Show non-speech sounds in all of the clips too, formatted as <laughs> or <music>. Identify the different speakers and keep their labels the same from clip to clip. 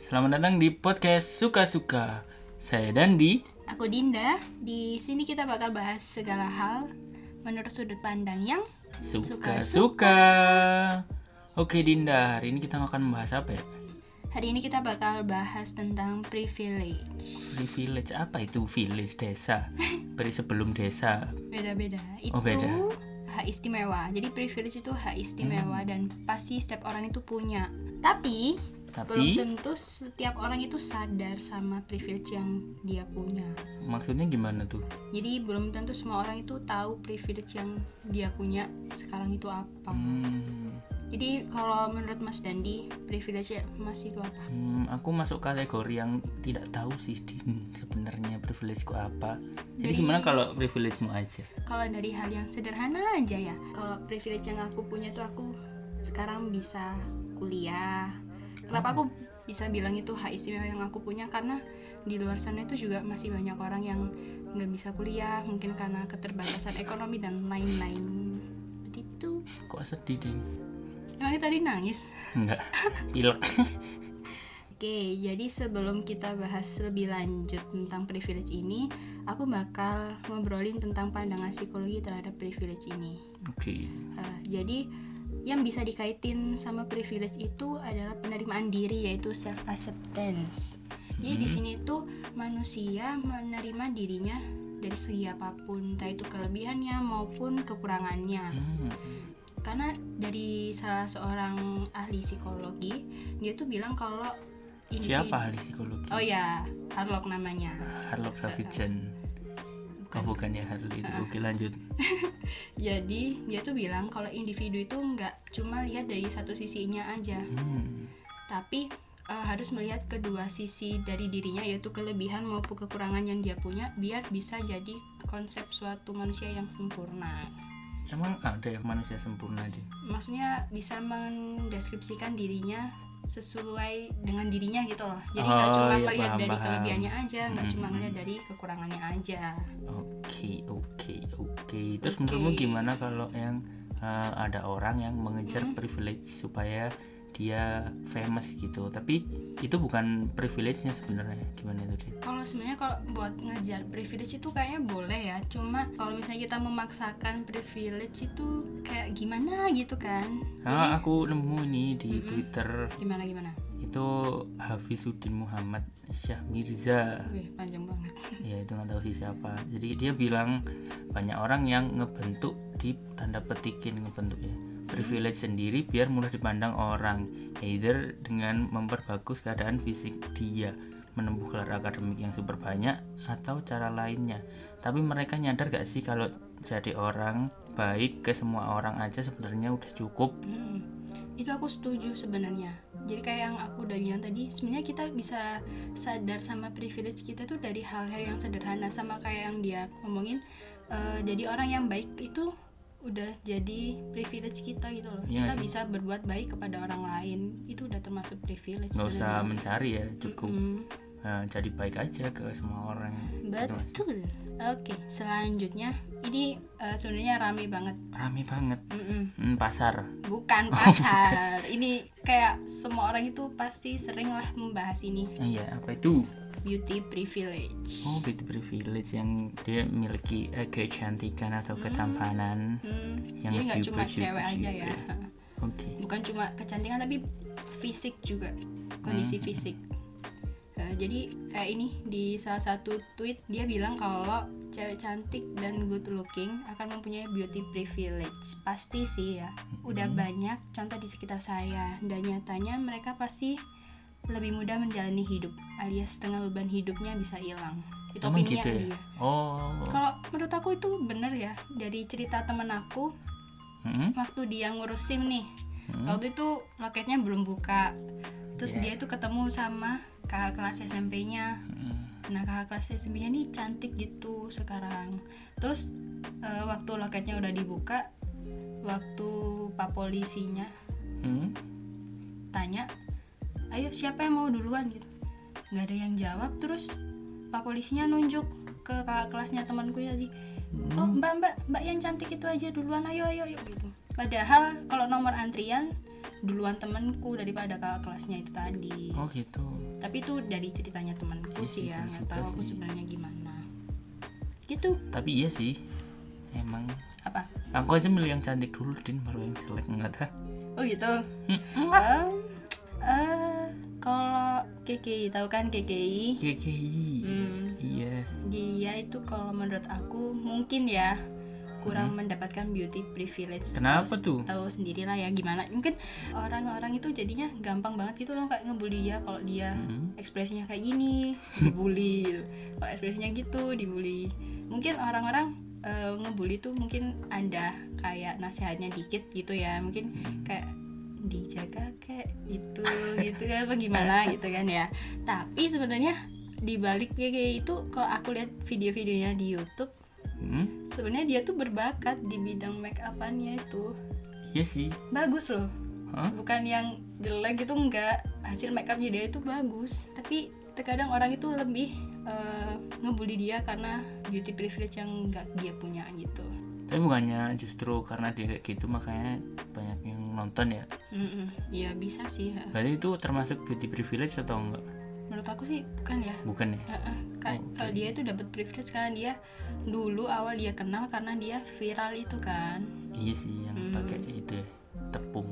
Speaker 1: Selamat datang di podcast Suka-Suka. Saya Dandi.
Speaker 2: Aku Dinda. Di sini kita bakal bahas segala hal menurut sudut pandang yang
Speaker 1: Suka-suka. Oke Dinda, hari ini kita akan membahas apa ya?
Speaker 2: hari ini kita bakal bahas tentang privilege.
Speaker 1: Privilege apa itu? Village desa. Beri sebelum desa.
Speaker 2: Beda-beda.
Speaker 1: Oh,
Speaker 2: Itu
Speaker 1: beda.
Speaker 2: hak istimewa. Jadi privilege itu hak istimewa
Speaker 1: Hmm.
Speaker 2: dan pasti setiap orang itu punya. Tapi, belum
Speaker 1: Tapi
Speaker 2: tentu setiap orang itu sadar sama privilege yang dia punya.
Speaker 1: maksudnya gimana tuh?
Speaker 2: Jadi belum tentu semua orang itu tahu privilege yang dia punya sekarang itu apa.
Speaker 1: Hmm,
Speaker 2: Jadi kalau menurut Mas Dandi, privilege Mas itu apa?
Speaker 1: hmm, aku masuk kategori yang tidak tahu sih Din sebenarnya privilegeku apa. Jadi
Speaker 2: Jadi-
Speaker 1: gimana kalau privilegemu aja?
Speaker 2: Kalau dari hal yang sederhana aja ya. Kalau privilege yang aku punya tuh aku sekarang bisa kuliah. Kenapa aku bisa bilang itu hak istimewa yang aku punya karena di luar sana itu juga masih banyak orang yang nggak bisa kuliah mungkin karena keterbatasan ekonomi dan lain-lain. Seperti itu.
Speaker 1: Kok sedih Din?
Speaker 2: Emangnya tadi nangis?
Speaker 1: Enggak. Pilek.
Speaker 2: Oke, jadi sebelum kita bahas lebih lanjut tentang privilege ini, aku bakal ngobrolin tentang pandangan psikologi terhadap privilege ini.
Speaker 1: Oke.
Speaker 2: Eh, jadi yang bisa dikaitin sama privilege itu adalah penerimaan diri yaitu self acceptance. Jadi di sini itu manusia menerima dirinya dari segi apapun, entah itu kelebihannya maupun kekurangannya
Speaker 1: Hmm.
Speaker 2: karena dari salah seorang ahli psikologi dia tuh bilang kalau individu-
Speaker 1: Siapa ahli psikologi?
Speaker 2: oh ya Harlock namanya
Speaker 1: Harlock Davidson. Kau bukan ya Harley itu. Oke lanjut.
Speaker 2: jadi dia tuh bilang kalau individu itu nggak cuma lihat dari satu sisinya aja
Speaker 1: Hmm.
Speaker 2: tapi eh, harus melihat kedua sisi dari dirinya yaitu kelebihan maupun kekurangan yang dia punya biar bisa jadi konsep suatu manusia yang sempurna
Speaker 1: Emang ada yang manusia sempurna Din?
Speaker 2: maksudnya bisa mendeskripsikan dirinya sesuai dengan dirinya gitu loh jadi
Speaker 1: Oh,
Speaker 2: nggak cuma
Speaker 1: iya,
Speaker 2: melihat
Speaker 1: paham,
Speaker 2: dari
Speaker 1: paham.
Speaker 2: kelebihannya aja nggak cuma
Speaker 1: Mm-mm.
Speaker 2: melihat dari kekurangannya aja
Speaker 1: Oke oke oke. Terus
Speaker 2: Oke.
Speaker 1: menurutmu gimana kalau yang eh, ada orang yang mengejar
Speaker 2: Mm.
Speaker 1: privilege supaya dia famous gitu? Tapi itu bukan privilege-nya sebenarnya. Gimana itu Din?
Speaker 2: kalau sebenarnya kalau buat ngejar privilege itu kayaknya boleh ya cuma kalau misalnya kita memaksakan privilege itu kayak gimana gitu kan
Speaker 1: Ah,
Speaker 2: jadi
Speaker 1: aku nemu nih di
Speaker 2: Mm-mm.
Speaker 1: Twitter
Speaker 2: gimana gimana
Speaker 1: itu Hafizuddin Muhammad Syah Mirza.
Speaker 2: wih panjang banget
Speaker 1: ya itu nggak tahu sih siapa jadi dia bilang banyak orang yang ngebentuk di tanda petikin ngebentuk ya privilege sendiri biar mudah dipandang orang either dengan memperbagus keadaan fisik dia menempuh gelar akademik yang super banyak atau cara lainnya tapi mereka nyadar gak sih kalau jadi orang baik ke semua orang aja sebenarnya udah cukup
Speaker 2: Hmm, itu aku setuju sebenarnya. Jadi kayak yang aku udah bilang tadi, sebenarnya kita bisa sadar sama privilege kita tuh dari hal-hal yang sederhana sama kayak yang dia ngomongin. eh, jadi orang yang baik itu udah jadi privilege kita gitu loh.
Speaker 1: Iya
Speaker 2: kita
Speaker 1: sih.
Speaker 2: bisa berbuat baik kepada orang lain itu udah termasuk privilege.
Speaker 1: nggak usah
Speaker 2: sebenarnya.
Speaker 1: mencari ya cukup
Speaker 2: Mm-mm.
Speaker 1: Nah, jadi baik aja ke semua orang Gitu, Mas.
Speaker 2: Betul. Oke, selanjutnya ini eh, sebenarnya rame banget.
Speaker 1: rame banget
Speaker 2: Mm-mm.
Speaker 1: Hmm, pasar Oh,
Speaker 2: Bukan pasar. Ini kayak semua orang itu pasti sering lah membahas ini
Speaker 1: Ah, iya apa itu
Speaker 2: beauty privilege.
Speaker 1: Oh, beauty privilege yang dia memiliki eh, kecantikan atau ketampanan.
Speaker 2: Hmm,
Speaker 1: Yang
Speaker 2: jadi nggak
Speaker 1: super,
Speaker 2: cuma
Speaker 1: super,
Speaker 2: cewek aja
Speaker 1: super.
Speaker 2: ya.
Speaker 1: Oke.
Speaker 2: Bukan cuma kecantikan tapi fisik juga
Speaker 1: Hmm.
Speaker 2: kondisi fisik. Eh, jadi kayak ini di salah satu tweet dia bilang kalau cewek cantik dan good looking akan mempunyai beauty privilege. Pasti sih ya. Udah
Speaker 1: Hmm.
Speaker 2: banyak contoh di sekitar saya dan nyatanya mereka pasti lebih mudah menjalani hidup alias setengah beban hidupnya bisa hilang. Itu
Speaker 1: Emang
Speaker 2: opininya
Speaker 1: gitu ya?
Speaker 2: dia.
Speaker 1: Oh.
Speaker 2: Kalau menurut aku itu bener ya dari cerita temen aku
Speaker 1: Mm-mm.
Speaker 2: waktu dia ngurus SIM nih.
Speaker 1: Hmm.
Speaker 2: Waktu itu loketnya belum buka.
Speaker 1: Iya.
Speaker 2: Terus dia itu ketemu sama kakak kelas SMP-nya.
Speaker 1: Mm-mm.
Speaker 2: Nah, kakak kelas SMP-nya nih cantik gitu sekarang. Terus eh, waktu loketnya udah dibuka, waktu Pak polisinya
Speaker 1: Hmm.
Speaker 2: tanya, "Ayo siapa yang mau duluan?" gitu. nggak ada yang jawab. Terus Pak polisinya nunjuk ke kakak kelasnya temanku tadi. oh
Speaker 1: Hmm.
Speaker 2: mbak mbak mbak yang cantik itu aja duluan ayo ayo ayo gitu padahal kalau nomor antrian duluan temenku daripada kakak kelasnya itu tadi
Speaker 1: oh gitu
Speaker 2: tapi itu dari ceritanya temanku
Speaker 1: Iya sih,
Speaker 2: sih ya
Speaker 1: gue
Speaker 2: nggak
Speaker 1: suka
Speaker 2: tahu aku
Speaker 1: sih.
Speaker 2: sebenarnya gimana gitu
Speaker 1: tapi iya sih emang
Speaker 2: apa
Speaker 1: aku aja milih yang cantik dulu din baru yang jelek enggak ada
Speaker 2: oh gitu
Speaker 1: Mm-mm.
Speaker 2: Em, eh, kalau KKI tahu kan KKI
Speaker 1: GGI
Speaker 2: Hmm,
Speaker 1: iya
Speaker 2: dia itu kalau menurut aku mungkin ya kurang mendapatkan beauty privilege
Speaker 1: kenapa tuh
Speaker 2: tahu sendirilah ya gimana mungkin orang-orang itu jadinya gampang banget gitu loh kayak ngebully dia kalau dia
Speaker 1: Hmm.
Speaker 2: ekspresinya kayak gini dibully gitu. kalau ekspresinya gitu dibully mungkin orang-orang eh, ngebully tuh mungkin anda kayak nasihatnya dikit gitu ya mungkin
Speaker 1: hmm,
Speaker 2: kayak dijaga kayak itu gitu kan apa gimana gitu kan ya tapi sebenarnya dibalik kayak itu kalau aku lihat video-videonya di YouTube
Speaker 1: Hmm?
Speaker 2: sebenarnya dia tuh berbakat di bidang make upannya itu
Speaker 1: iya sih
Speaker 2: bagus loh
Speaker 1: Hah?
Speaker 2: bukan yang jelek gitu enggak hasil make upnya dia itu bagus tapi terkadang orang itu lebih eh, ngebully dia karena beauty privilege yang enggak dia punya gitu
Speaker 1: tapi bukannya justru karena dia kayak gitu makanya banyak yang nonton ya
Speaker 2: Mm-mm. ya bisa sih ha.
Speaker 1: berarti itu termasuk beauty privilege atau enggak
Speaker 2: menurut aku sih bukan ya
Speaker 1: bukan ya
Speaker 2: Heeh, ka-
Speaker 1: Oke.
Speaker 2: kalau dia itu dapat privilege karena dia dulu awal dia kenal karena dia viral itu kan <laughs>
Speaker 1: iya sih yang
Speaker 2: Hmm.
Speaker 1: pakai itu ya, tepung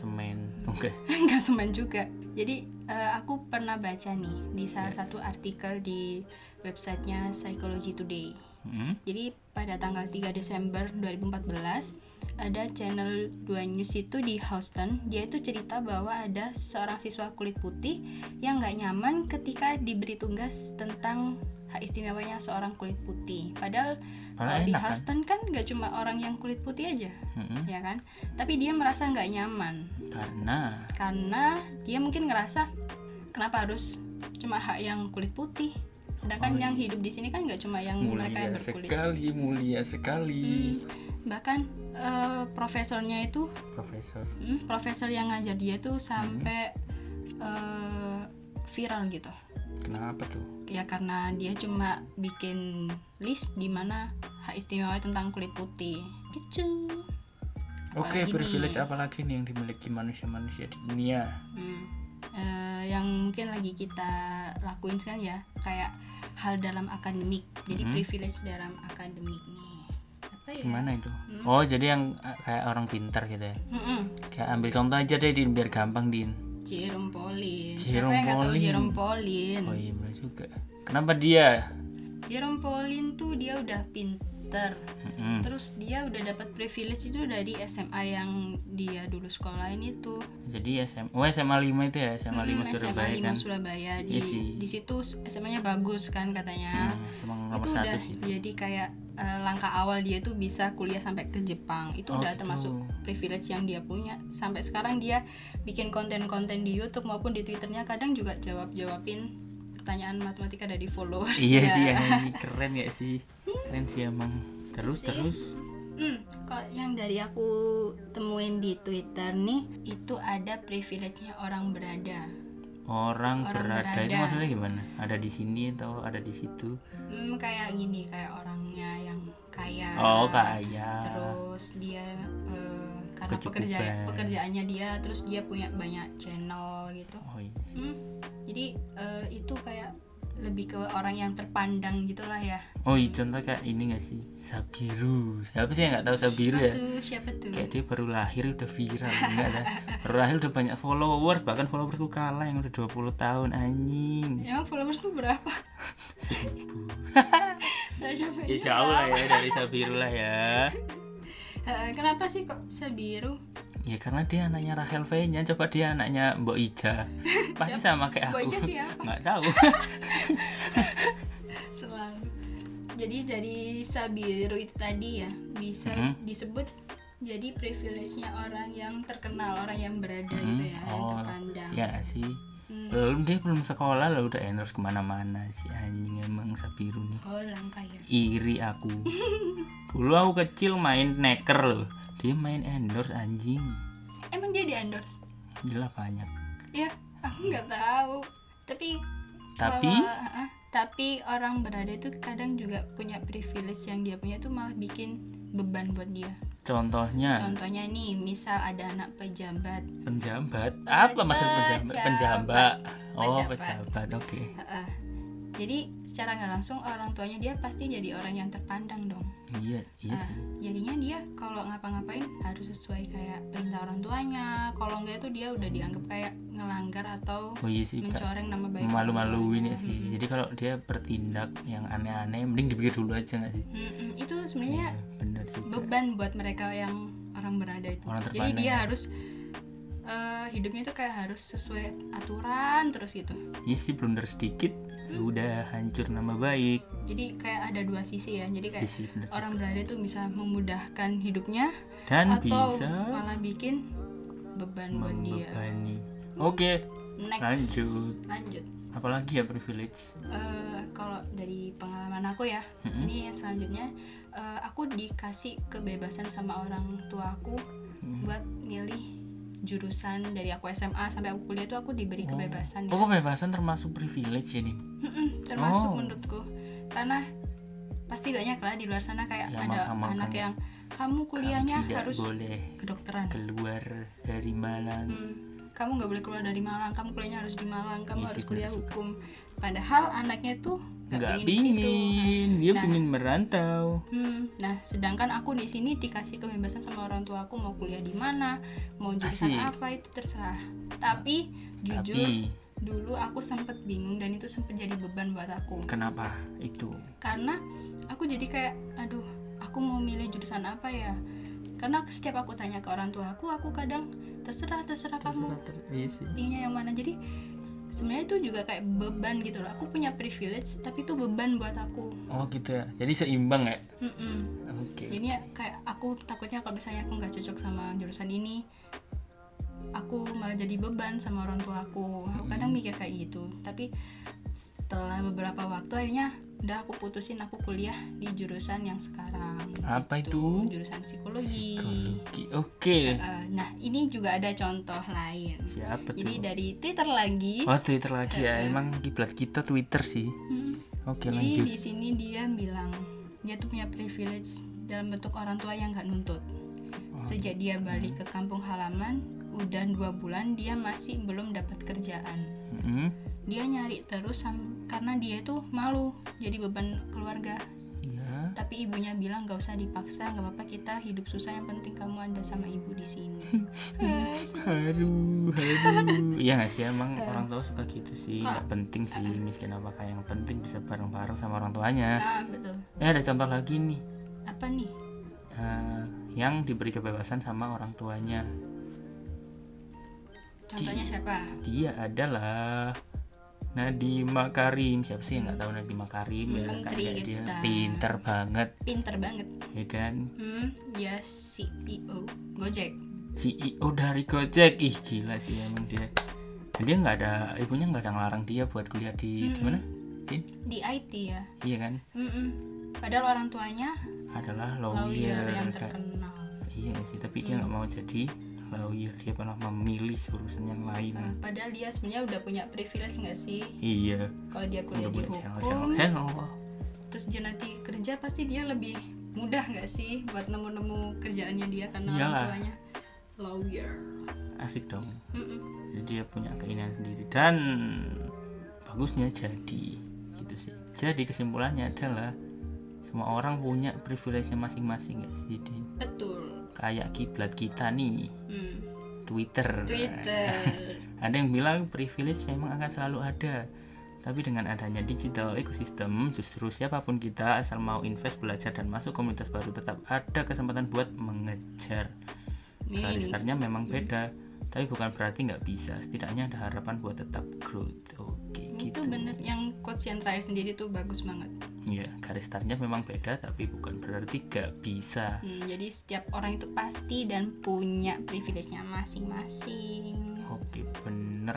Speaker 1: semen <laughs> oke
Speaker 2: nggak semen juga jadi eh, aku pernah baca nih di salah satu artikel di websitenya Psychology Today
Speaker 1: Hmm?
Speaker 2: Jadi pada tanggal 3 Desember 2014 ada channel 2 News itu di Houston. Dia itu cerita bahwa ada seorang siswa kulit putih yang nggak nyaman ketika diberi tugas tentang hak istimewanya seorang kulit putih. Padahal
Speaker 1: Padahal
Speaker 2: kalau di
Speaker 1: enak kan?
Speaker 2: Houston kan nggak cuma orang yang kulit putih aja,
Speaker 1: Mm-mm.
Speaker 2: ya kan? Tapi dia merasa nggak nyaman
Speaker 1: karena
Speaker 2: karena dia mungkin ngerasa kenapa harus cuma hak yang kulit putih, sedangkan
Speaker 1: Oh,
Speaker 2: yang hidup di sini kan nggak cuma yang mereka yang
Speaker 1: mulia
Speaker 2: berkulit
Speaker 1: sekali mulia sekali
Speaker 2: Hmm, bahkan eh, profesornya itu
Speaker 1: profesor
Speaker 2: hmm, profesor yang ngajar dia tuh sampai eh, viral gitu
Speaker 1: kenapa tuh
Speaker 2: ya karena dia cuma bikin list di mana hak istimewa tentang kulit putih gitu
Speaker 1: oke
Speaker 2: Apalagi nih?
Speaker 1: privilege apalagi nih yang dimiliki manusia-manusia di dunia
Speaker 2: Hmm. Eh, yang mungkin lagi kita lakuin sekarang ya kayak hal dalam akademik jadi
Speaker 1: Mhm.
Speaker 2: privilege dalam akademik nih apa ya
Speaker 1: gimana itu oh jadi yang eh, kayak orang pintar gitu ya
Speaker 2: Mm-mm.
Speaker 1: kayak ambil contoh aja deh din biar gampang din
Speaker 2: Jerome Pauline siapa
Speaker 1: Jerome
Speaker 2: yang nggak tahu
Speaker 1: Pauline.
Speaker 2: Jerome Pauline
Speaker 1: oh iya bener juga kenapa dia
Speaker 2: Jerome Pauline tuh dia udah pinter
Speaker 1: Mm-mm.
Speaker 2: terus dia udah dapat privilege itu dari SMA yang dia dulu sekolahin itu
Speaker 1: jadi SMA oh SMA 5 itu ya SMA 5
Speaker 2: Hmm,
Speaker 1: Surabaya
Speaker 2: SMA 5
Speaker 1: kan
Speaker 2: Surabaya di
Speaker 1: Iya sih.
Speaker 2: di situ SMA-nya bagus kan katanya
Speaker 1: Hmm, emang nomor
Speaker 2: itu
Speaker 1: satu
Speaker 2: udah
Speaker 1: sih
Speaker 2: jadi kayak eh, langkah awal dia tuh bisa kuliah sampai ke Jepang itu
Speaker 1: Oh,
Speaker 2: udah
Speaker 1: gitu.
Speaker 2: termasuk privilege yang dia punya sampai sekarang dia bikin konten-konten di YouTube maupun di Twitternya kadang juga jawab-jawabin pertanyaan matematika dari followers
Speaker 1: iya
Speaker 2: ya.
Speaker 1: sih ya ini keren ya sih keren sih emang terus
Speaker 2: Sih.
Speaker 1: terus
Speaker 2: Hmm, kalau yang dari aku temuin di Twitter nih, itu ada privilege-nya orang berada.
Speaker 1: orang,
Speaker 2: Orang
Speaker 1: berada. itu
Speaker 2: berada.
Speaker 1: maksudnya gimana ada di sini atau ada di situ
Speaker 2: Hmm, kayak gini, kayak orangnya yang kaya.
Speaker 1: oh kaya
Speaker 2: Nah, Terus dia eh, karena
Speaker 1: Kecukupan.
Speaker 2: pekerja pekerjaannya dia, terus dia punya banyak channel gitu.
Speaker 1: oh iya sih.
Speaker 2: Hmm, jadi eh, itu kayak lebih ke orang yang terpandang gitulah ya.
Speaker 1: oh iya contoh kayak ini gak sih Sabiru siapa sih yang nggak tahu Sabiru ya
Speaker 2: Siapa tuh? Siapa tuh?
Speaker 1: kayak dia baru lahir udah viral enggak lah baru lahir udah banyak followers bahkan followers lu kalah yang udah 20 tahun anjing
Speaker 2: Emang followers tuh berapa? <laughs> Iya.
Speaker 1: seribu
Speaker 2: Berapa?
Speaker 1: ya jauh lah ya dari Sabiru lah ya
Speaker 2: Eh, kenapa sih kok Sabiru?
Speaker 1: ya karena dia anaknya Rahel V nya coba dia anaknya Mbok Ija
Speaker 2: <laughs>
Speaker 1: pasti sama kayak
Speaker 2: Mbok
Speaker 1: aku
Speaker 2: Ija siapa?
Speaker 1: <laughs> nggak
Speaker 2: <laughs>
Speaker 1: tahu
Speaker 2: selalu jadi dari Sabiru itu tadi ya bisa
Speaker 1: Mhm.
Speaker 2: disebut jadi privilege-nya orang yang terkenal orang yang berada
Speaker 1: Mhm.
Speaker 2: gitu ya yang
Speaker 1: Oh,
Speaker 2: terpandang
Speaker 1: ya sih
Speaker 2: Hmm.
Speaker 1: belum dia belum sekolah lo udah endorse kemana-mana si anjing emang Sabiru nih
Speaker 2: oh langka ya
Speaker 1: iri
Speaker 2: <laughs>
Speaker 1: aku dulu aku kecil main neker loh dia main endorse anjing
Speaker 2: emang dia di endorse
Speaker 1: gila banyak
Speaker 2: ya aku nggak tahu tapi
Speaker 1: Tapi?
Speaker 2: kalau- ah, ah, tapi orang berada itu kadang juga punya privilege yang dia punya tuh malah bikin beban buat dia.
Speaker 1: Contohnya
Speaker 2: Contohnya nih, misal ada anak pejabat.
Speaker 1: penjabat.
Speaker 2: Pe-
Speaker 1: Apa maksud penjabat?
Speaker 2: pejabat.
Speaker 1: Penjabat. Oh,
Speaker 2: Pejabat.
Speaker 1: pejabat. Oke.
Speaker 2: Heeh. Jadi secara nggak langsung orang tuanya dia pasti jadi orang yang terpandang dong.
Speaker 1: Iya, iya
Speaker 2: Ah,
Speaker 1: sih.
Speaker 2: jadinya dia kalau ngapa-ngapain harus sesuai kayak perintah orang tuanya. Kalau nggak itu dia udah dianggap kayak ngelanggar atau
Speaker 1: Oh iya sih, Kak.
Speaker 2: mencoreng nama baik. orang
Speaker 1: Malu-maluin ya
Speaker 2: tuanya.
Speaker 1: sih.
Speaker 2: Mm-mm.
Speaker 1: Jadi kalau dia bertindak yang aneh-aneh mending dipikir dulu aja nggak sih?
Speaker 2: Mm-mm. Itu sebenarnya
Speaker 1: benar juga.
Speaker 2: beban buat mereka yang orang berada itu.
Speaker 1: Orang
Speaker 2: Jadi
Speaker 1: terpandang
Speaker 2: dia
Speaker 1: ya.
Speaker 2: harus eh, hidupnya itu kayak harus sesuai aturan terus gitu.
Speaker 1: Iya sih blunder sedikit ya
Speaker 2: Hmm?
Speaker 1: udah hancur nama baik.
Speaker 2: Jadi kayak ada dua sisi ya. Jadi
Speaker 1: Iya
Speaker 2: kayak
Speaker 1: sih benar.
Speaker 2: orang berada itu bisa memudahkan hidupnya
Speaker 1: Dan
Speaker 2: atau
Speaker 1: bisa
Speaker 2: malah bikin beban buat dia. Hmm.
Speaker 1: membebani. Oke,
Speaker 2: Next.
Speaker 1: Lanjut.
Speaker 2: Lanjut.
Speaker 1: apalagi ya privilege?
Speaker 2: Eh, kalau dari pengalaman aku ya,
Speaker 1: Mm-mm.
Speaker 2: ini yang selanjutnya eh, aku dikasih kebebasan sama orang tua aku
Speaker 1: Hmm.
Speaker 2: buat milih jurusan dari aku SMA sampai aku kuliah itu aku diberi kebebasan ya.
Speaker 1: Oh, kebebasan termasuk privilege ya, Din?
Speaker 2: Mm-mm, termasuk
Speaker 1: Oh.
Speaker 2: menurutku karena pasti banyak lah di luar sana kayak
Speaker 1: Ya,
Speaker 2: ada
Speaker 1: makanya-
Speaker 2: anak yang kamu kuliahnya
Speaker 1: Kamu tidak
Speaker 2: harus
Speaker 1: boleh
Speaker 2: kedokteran
Speaker 1: keluar dari Malang.
Speaker 2: Hmm, kamu nggak boleh keluar dari Malang kamu kuliahnya harus di Malang
Speaker 1: Iya
Speaker 2: kamu
Speaker 1: sih,
Speaker 2: harus
Speaker 1: bener
Speaker 2: kuliah
Speaker 1: juga.
Speaker 2: hukum padahal anaknya tuh
Speaker 1: Nggak
Speaker 2: nggak pingin di situ
Speaker 1: pingin, dia
Speaker 2: Nah.
Speaker 1: pingin merantau.
Speaker 2: Hmm, nah sedangkan aku di sini dikasih kebebasan sama orang tua aku mau kuliah di mana mau jurusan
Speaker 1: Asik.
Speaker 2: apa itu terserah tapi jujur
Speaker 1: Tapi
Speaker 2: dulu aku sempet bingung dan itu sempet jadi beban buat aku
Speaker 1: kenapa itu?
Speaker 2: karena aku jadi kayak aduh aku mau milih jurusan apa ya karena setiap aku tanya ke orang tua aku aku kadang terserah terserah kamu
Speaker 1: Iya sih.
Speaker 2: pilihnya yang mana jadi sebenarnya itu juga kayak beban gitu loh aku punya privilege tapi itu beban buat aku
Speaker 1: Oh gitu ya. Jadi seimbang ya.
Speaker 2: Mm-mm.
Speaker 1: Oke.
Speaker 2: jadi ya kayak aku takutnya kalau misalnya aku nggak cocok sama jurusan ini aku malah jadi beban sama orang tua aku aku kadang mikir kayak gitu tapi setelah beberapa waktu akhirnya udah aku putusin aku kuliah di jurusan yang sekarang
Speaker 1: Apa
Speaker 2: Gitu,
Speaker 1: itu?
Speaker 2: jurusan psikologi,
Speaker 1: Psikologi. Oke.
Speaker 2: Eh, nah ini juga ada contoh lain
Speaker 1: Siapa
Speaker 2: jadi
Speaker 1: tuh?
Speaker 2: dari twitter lagi
Speaker 1: Oh Twitter lagi ya. Emang kiblat kita Twitter sih.
Speaker 2: Hmm.
Speaker 1: Oke
Speaker 2: Jadi
Speaker 1: lanjut.
Speaker 2: di sini dia bilang dia tuh punya privilege dalam bentuk orang tua yang nggak nuntut. Sejak dia balik ke
Speaker 1: Mm-hmm.
Speaker 2: kampung halaman, udah dua bulan dia masih belum dapat kerjaan.
Speaker 1: Mm-mm.
Speaker 2: Dia nyari terus sam- karena dia itu malu jadi beban keluarga.
Speaker 1: Ya.
Speaker 2: Tapi ibunya bilang nggak usah dipaksa, nggak apa-apa kita hidup susah yang penting kamu ada sama ibu di sini.
Speaker 1: <laughs>
Speaker 2: Eh, sedih.
Speaker 1: Aduh, aduh. Iya nggak sih emang orang tua suka gitu sih. Nggak penting sih miskin apa kaya. Yang penting bisa bareng-bareng sama orang tuanya.
Speaker 2: ah betul.
Speaker 1: Eh ada contoh lagi nih.
Speaker 2: Apa nih?
Speaker 1: Eh, yang diberi kebebasan sama orang tuanya.
Speaker 2: Contohnya siapa?
Speaker 1: Dia adalah Nadima Karim. Siapa sih yang nggak tahu Nadima Karim ya?
Speaker 2: Menteri gitu
Speaker 1: Kan kayak dia
Speaker 2: kita.
Speaker 1: pinter banget,
Speaker 2: Pinter banget.
Speaker 1: ya kan?
Speaker 2: Hmm, dia CEO Gojek.
Speaker 1: CEO E dari Gojek. Ih gila sih emang dia. Dan Dia nggak ada ibunya nggak ada ngelarang dia buat kuliah di di mana? Din?
Speaker 2: Di IT ya.
Speaker 1: Iya kan?
Speaker 2: Mm-mm. Padahal orang tuanya
Speaker 1: Adalah
Speaker 2: Oh,
Speaker 1: lawyer.
Speaker 2: lawyer yang Mm.
Speaker 1: Kak.
Speaker 2: terkenal.
Speaker 1: Iya sih, tapi dia nggak mau jadi lawyer. Dia malah memilih jurusan yang lain.
Speaker 2: Nah, padahal dia sebenarnya udah punya privilege nggak sih?
Speaker 1: Iya.
Speaker 2: Kalau dia
Speaker 1: Udah
Speaker 2: kuliah di
Speaker 1: boleh
Speaker 2: hukum,
Speaker 1: channel-channel.
Speaker 2: terus dia nanti kerja pasti dia lebih mudah nggak sih buat nemu-nemu kerjaannya dia karena
Speaker 1: Iyalah.
Speaker 2: orang tuanya lawyer.
Speaker 1: Asik dong.
Speaker 2: Mm-mm.
Speaker 1: jadi dia punya keinginan sendiri dan bagusnya jadi gitu sih jadi kesimpulannya adalah semua orang punya privilege masing-masing guys jadi
Speaker 2: Betul.
Speaker 1: kayak kiblat kita nih
Speaker 2: Hmm.
Speaker 1: Twitter.
Speaker 2: Twitter. <laughs>
Speaker 1: ada yang bilang privilege memang akan selalu ada tapi dengan adanya digital ekosistem justru siapapun kita asal mau invest belajar dan masuk komunitas baru tetap ada kesempatan buat mengejar
Speaker 2: Ini
Speaker 1: Garis
Speaker 2: nih.
Speaker 1: startnya memang beda, tapi bukan berarti nggak bisa. Setidaknya ada harapan buat tetap growth. Oke, gitu.
Speaker 2: Itu bener yang coach yang terakhir sendiri tuh bagus banget.
Speaker 1: Ya, garis startnya memang beda, tapi bukan berarti nggak bisa.
Speaker 2: Hmm, jadi setiap orang itu pasti dan punya privilege-nya masing-masing.
Speaker 1: Oke, bener.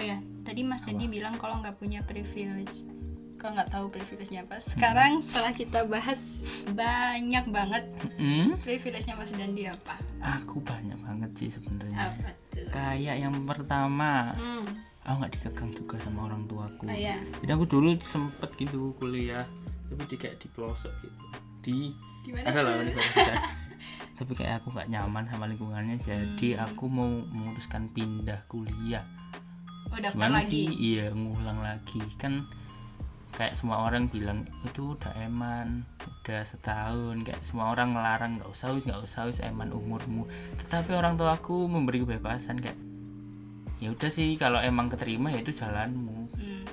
Speaker 2: Oh ya, tadi Mas Dandi bilang kalau nggak punya privilege, kalau nggak tahu privilege-nya apa.
Speaker 1: Hmm.
Speaker 2: Sekarang setelah kita bahas banyak banget
Speaker 1: Mm-mm.
Speaker 2: privilege-nya Mas Dandi apa?
Speaker 1: Aku banyak banget sih sebenarnya.
Speaker 2: Apa tuh?
Speaker 1: Kayak yang pertama,
Speaker 2: Hmm,
Speaker 1: aku nggak dikekang juga sama orang tuaku.
Speaker 2: oh ya.
Speaker 1: Jadi aku dulu sempet gitu kuliah, tapi di kayak di pelosok gitu, di
Speaker 2: Gimana?
Speaker 1: ada loh
Speaker 2: <laughs>
Speaker 1: universitas tapi kayak aku nggak nyaman sama lingkungannya
Speaker 2: Hmm.
Speaker 1: jadi aku mau memutuskan pindah kuliah
Speaker 2: Oh, daftar
Speaker 1: gimana
Speaker 2: lagi.
Speaker 1: sih iya ngulang lagi kan kayak semua orang bilang itu udah eman udah setahun kayak semua orang ngelarang nggak usah wis nggak usah wis
Speaker 2: Hmm.
Speaker 1: eman umurmu tetapi orang tua aku memberi kebebasan kayak ya udah sih kalau emang keterima ya itu jalanmu
Speaker 2: Hmm.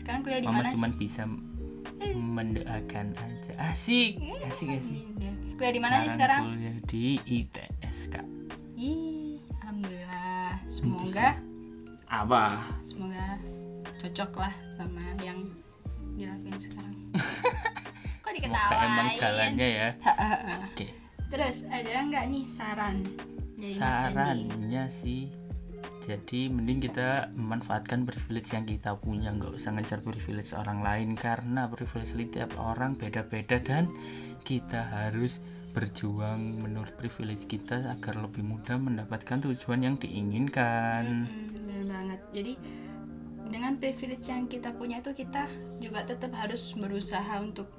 Speaker 2: Sekarang kuliah di
Speaker 1: mama
Speaker 2: mana?
Speaker 1: cuman bisa mendoakan aja asik asik
Speaker 2: sih?
Speaker 1: asik
Speaker 2: Iya. Kuliah di mana sih sekarang?
Speaker 1: kuliah di ITS kak
Speaker 2: Ih, alhamdulillah.
Speaker 1: Hmm,
Speaker 2: Semoga
Speaker 1: apa
Speaker 2: semoga cocok lah sama yang dilakuin
Speaker 1: <laughs>
Speaker 2: sekarang. Kok
Speaker 1: semoga
Speaker 2: diketawain?
Speaker 1: emang jalannya ya
Speaker 2: Ha, ha, ha.
Speaker 1: oke
Speaker 2: Terus ada nggak nih saran dari Mas Andi?
Speaker 1: sarannya sih jadi mending kita memanfaatkan privilege yang kita punya nggak usah ngejar privilege orang lain karena privilege tiap orang beda-beda dan kita harus berjuang menurut privilege kita agar lebih mudah mendapatkan tujuan yang diinginkan
Speaker 2: Mm, bener banget. Jadi dengan privilege yang kita punya itu kita juga tetap harus berusaha untuk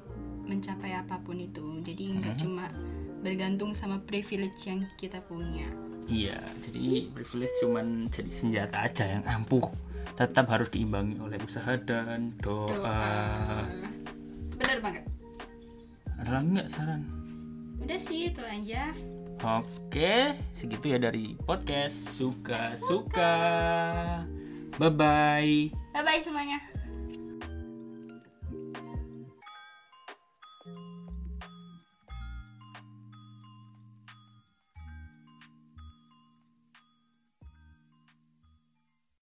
Speaker 2: mencapai apapun itu. Jadi nggak cuma bergantung sama privilege yang kita punya.
Speaker 1: Iya, jadi privilege cuman jadi senjata aja yang ampuh. Tetap harus diimbangi oleh usaha dan doa.
Speaker 2: Bener banget.
Speaker 1: Ada lagi nggak saran?
Speaker 2: Udah sih itu aja.
Speaker 1: Oke, segitu ya dari podcast suka-suka. Bye-bye.
Speaker 2: Bye bye semuanya.